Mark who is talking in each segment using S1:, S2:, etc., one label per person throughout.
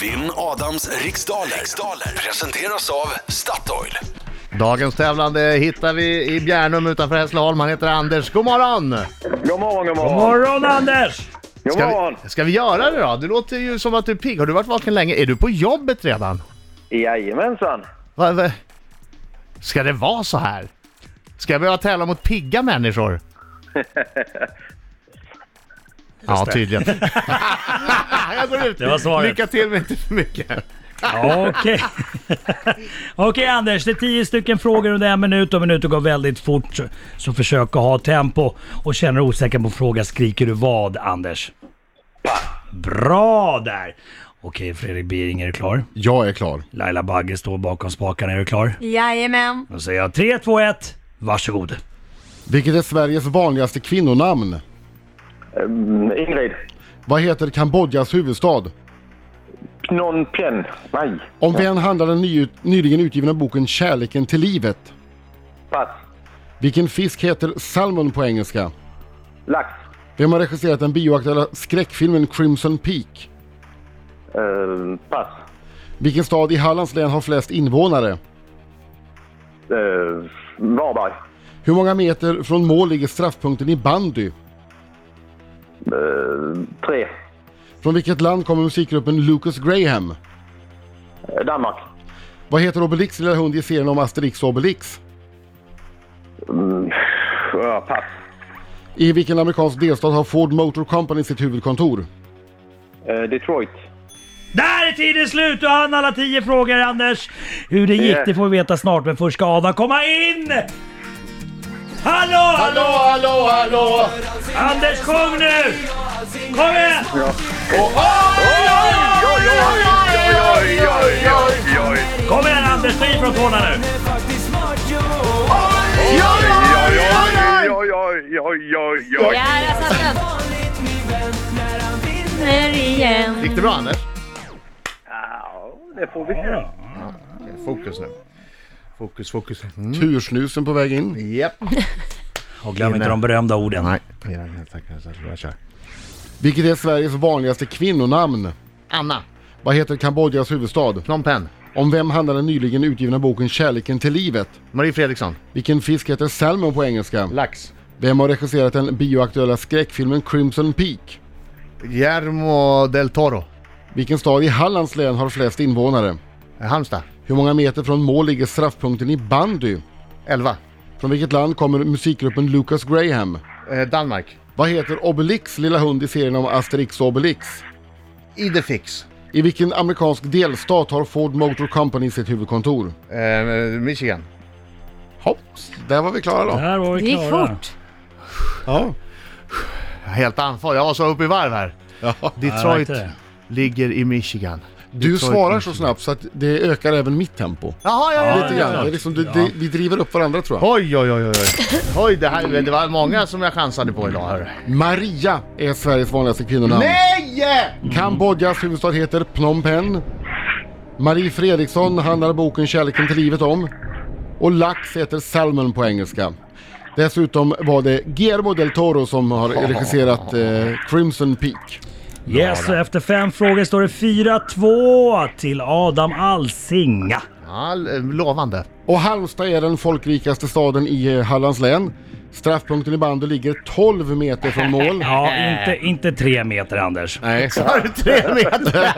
S1: Vinn Adams riksdaler. riksdaler presenteras av Statoil.
S2: Dagens tävlande hittar vi i Bjärnum utanför Hässleholm. Han heter Anders. God morgon!
S3: God morgon, god
S4: God
S3: morgon.
S4: morgon Anders!
S3: God
S2: Ska
S3: morgon.
S2: vi, ska vi göra det då? Du låter ju som att du är pigg. Har du varit vaken länge? Är du på jobbet redan?
S3: Jajamensan.
S2: Va, va? Ska det vara så här? Ska jag behöva tävla mot pigga människor? ja, tydligen. jag går ut.
S4: Det var svaret.
S2: Lycka till men inte för mycket.
S4: Okej. Okej Anders, det är tio stycken frågor under en minut och minuten går väldigt fort. så- Så försök att ha tempo. Och känner du osäker på en fråga skriker du vad Anders? Bra där! Okej Fredrik Bering, är du klar?
S5: Jag är klar.
S4: Laila Bagge står bakom spakarna, är du klar?
S6: Jajamän.
S4: Då säger jag 3, 2, 1, varsågod.
S5: Vilket är Sveriges vanligaste kvinnonamn?
S3: Mm, Ingrid.
S5: Vad heter Kambodjas huvudstad?
S3: Phnom Penh. Nej.
S5: Om vem handlar den ny, nyligen utgivna boken Kärleken till livet?
S3: Pass.
S5: Vilken fisk heter salmon på engelska?
S3: Lax.
S5: Vem har regisserat den bioaktuella skräckfilmen Crimson Peak?
S3: Eh, pass.
S5: Vilken stad i Hallands län har flest invånare?
S3: Uh, Varberg.
S5: Hur många meter från mål ligger straffpunkten i bandy?
S3: Eh, tre.
S5: Från vilket land kommer musikgruppen Lucas Graham?
S3: Eh, Danmark.
S5: Vad heter Obelix lilla hund i serien om Asterix och Obelix?
S3: Mm, Ja, pass.
S5: I vilken amerikansk delstat har Ford Motor Company sitt huvudkontor?
S3: Eh, Detroit.
S4: Där är tiden slut! Du hann alla tio frågor Anders. Hur det gick
S3: Yeah.
S4: det får vi veta snart, men först ska Adam komma in! Hallå, hallå,
S5: hallå, hallå!
S4: Anders sjung nu! Kom igen! Kom igen Anders, ta i från tårna nu!
S6: Där satt den. Vinner igen.
S2: Gick det bra Anders?
S3: Ja, det får vi se.
S2: Fokus nu. Fokus, fokus. Mm.
S5: Tursnusen på väg in.
S2: Japp.
S4: Och glöm inte de berömda orden.
S2: Nej. Jag är helt taggad, så jag tror jag kör.
S5: Vilket är Sveriges vanligaste kvinnonamn?
S2: Anna,
S5: Vad heter Kambodjas huvudstad?
S2: Phnom Penh,
S5: Om vem handlar den nyligen utgivna boken Kärleken till livet?
S2: Marie Fredriksson,
S5: Vilken fisk heter salmon på engelska?
S2: Lax,
S5: Vem har regisserat den bioaktuella skräckfilmen Crimson Peak?
S2: Guillermo del Toro,
S5: Vilken stad i Hallands län har flest invånare?
S2: Eh, Halmstad,
S5: Hur många meter från mål ligger straffpunkten i bandy?
S2: 11.
S5: Från vilket land kommer musikgruppen Lucas Graham?
S2: Eh, Danmark,
S5: Vad heter Obelix lilla hund i serien om Asterix och Obelix?
S2: Idefix,
S5: I vilken amerikansk delstat har Ford Motor Company sitt huvudkontor?
S2: eh, Michigan.
S5: Hopps, där var vi klara då.
S4: Där var
S6: Det
S4: vi
S6: gick
S4: klara.
S6: fort.
S5: Ja.
S2: Helt andfådd, jag var så uppe i varv här.
S4: Jag
S2: Detroit
S4: vet inte.
S2: ligger i Michigan.
S5: Du svarar så snabbt så att det ökar även mitt tempo.
S2: Jaha, ja, ja,
S5: Lite
S2: ja,
S5: grann.
S2: ja.
S5: Det är liksom, det, det, vi driver upp varandra tror jag.
S2: Oj, oj, oj, oj. oj. Oj, det, här, det var många som jag chansade på idag. hörru.
S5: Maria är Sveriges vanligaste kvinnonamn.
S2: Nej!
S5: Kambodjas huvudstad heter Phnom Penh. Marie Fredriksson handlar boken Kärleken till livet om. Och lax heter salmon på engelska. Dessutom var det Guillermo del Toro som har regisserat eh, Crimson Peak.
S4: Yes, och efter fem frågor står det 4-2 till Adam Alsinga.
S2: Ja, l- lovande.
S5: Och Halmstad är den folkrikaste staden i eh, Hallands län. Straffpunkten i bandy ligger 12 meter från mål.
S4: Ja, inte, inte tre meter Anders.
S5: Nej,
S2: Har du tre meter?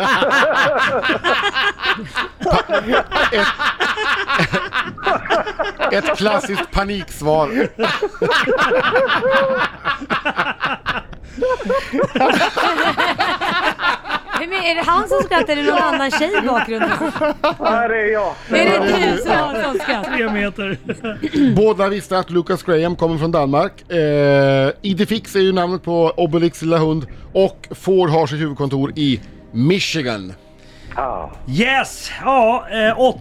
S5: ett klassiskt paniksvar.
S6: Vem är, är det han som skrattar eller någon annan tjej i bakgrunden?
S3: Ja, det är jag.
S6: Är det du som har sån skratt?
S4: Tre meter.
S5: Båda visste att Lucas Graham kommer från Danmark. Eh, Idefix är ju namnet på Obelix lilla hund och Ford har sitt huvudkontor i Michigan.
S3: Ja.
S4: Yes! Ja, eh,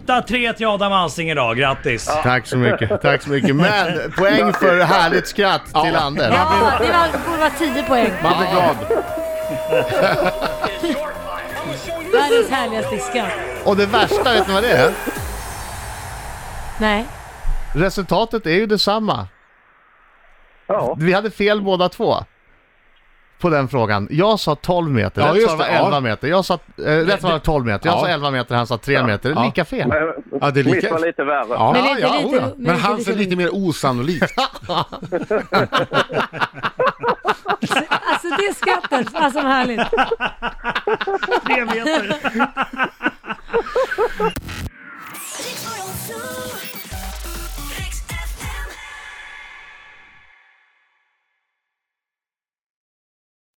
S4: 8-3 till Adam Alsing idag. Grattis!
S2: Tack så mycket, tack så mycket. Men poäng för härligt skratt till Anders.
S6: Ja, det var, det borde vara 10 poäng.
S5: Man blir glad.
S6: Världens härligaste skratt.
S2: Och det värsta, vet ni vad det är?
S6: Nej.
S2: Resultatet är ju detsamma.
S3: Ja.
S2: Vi hade fel båda två. på den frågan. Jag sa 12 meter,
S5: Ja,
S2: rätt
S5: just
S2: svar var
S5: det, ja.
S2: 11 meter. Jag sa, eh, rätt svar var 12 meter, jag
S5: Ja.
S2: sa 11 meter, han sa 3 meter.
S5: Ja.
S2: Lika fel.
S5: Ja, det är lika-
S3: Mitt var lite värre.
S5: Ja,
S6: Men lite-
S5: ja,
S6: lite-
S5: oja.
S6: men
S5: men
S6: lite-
S5: hans är
S6: lite-
S5: lite mer osannolikt.
S6: Alltså det skrattet, alltså vad härligt.
S4: Tre meter.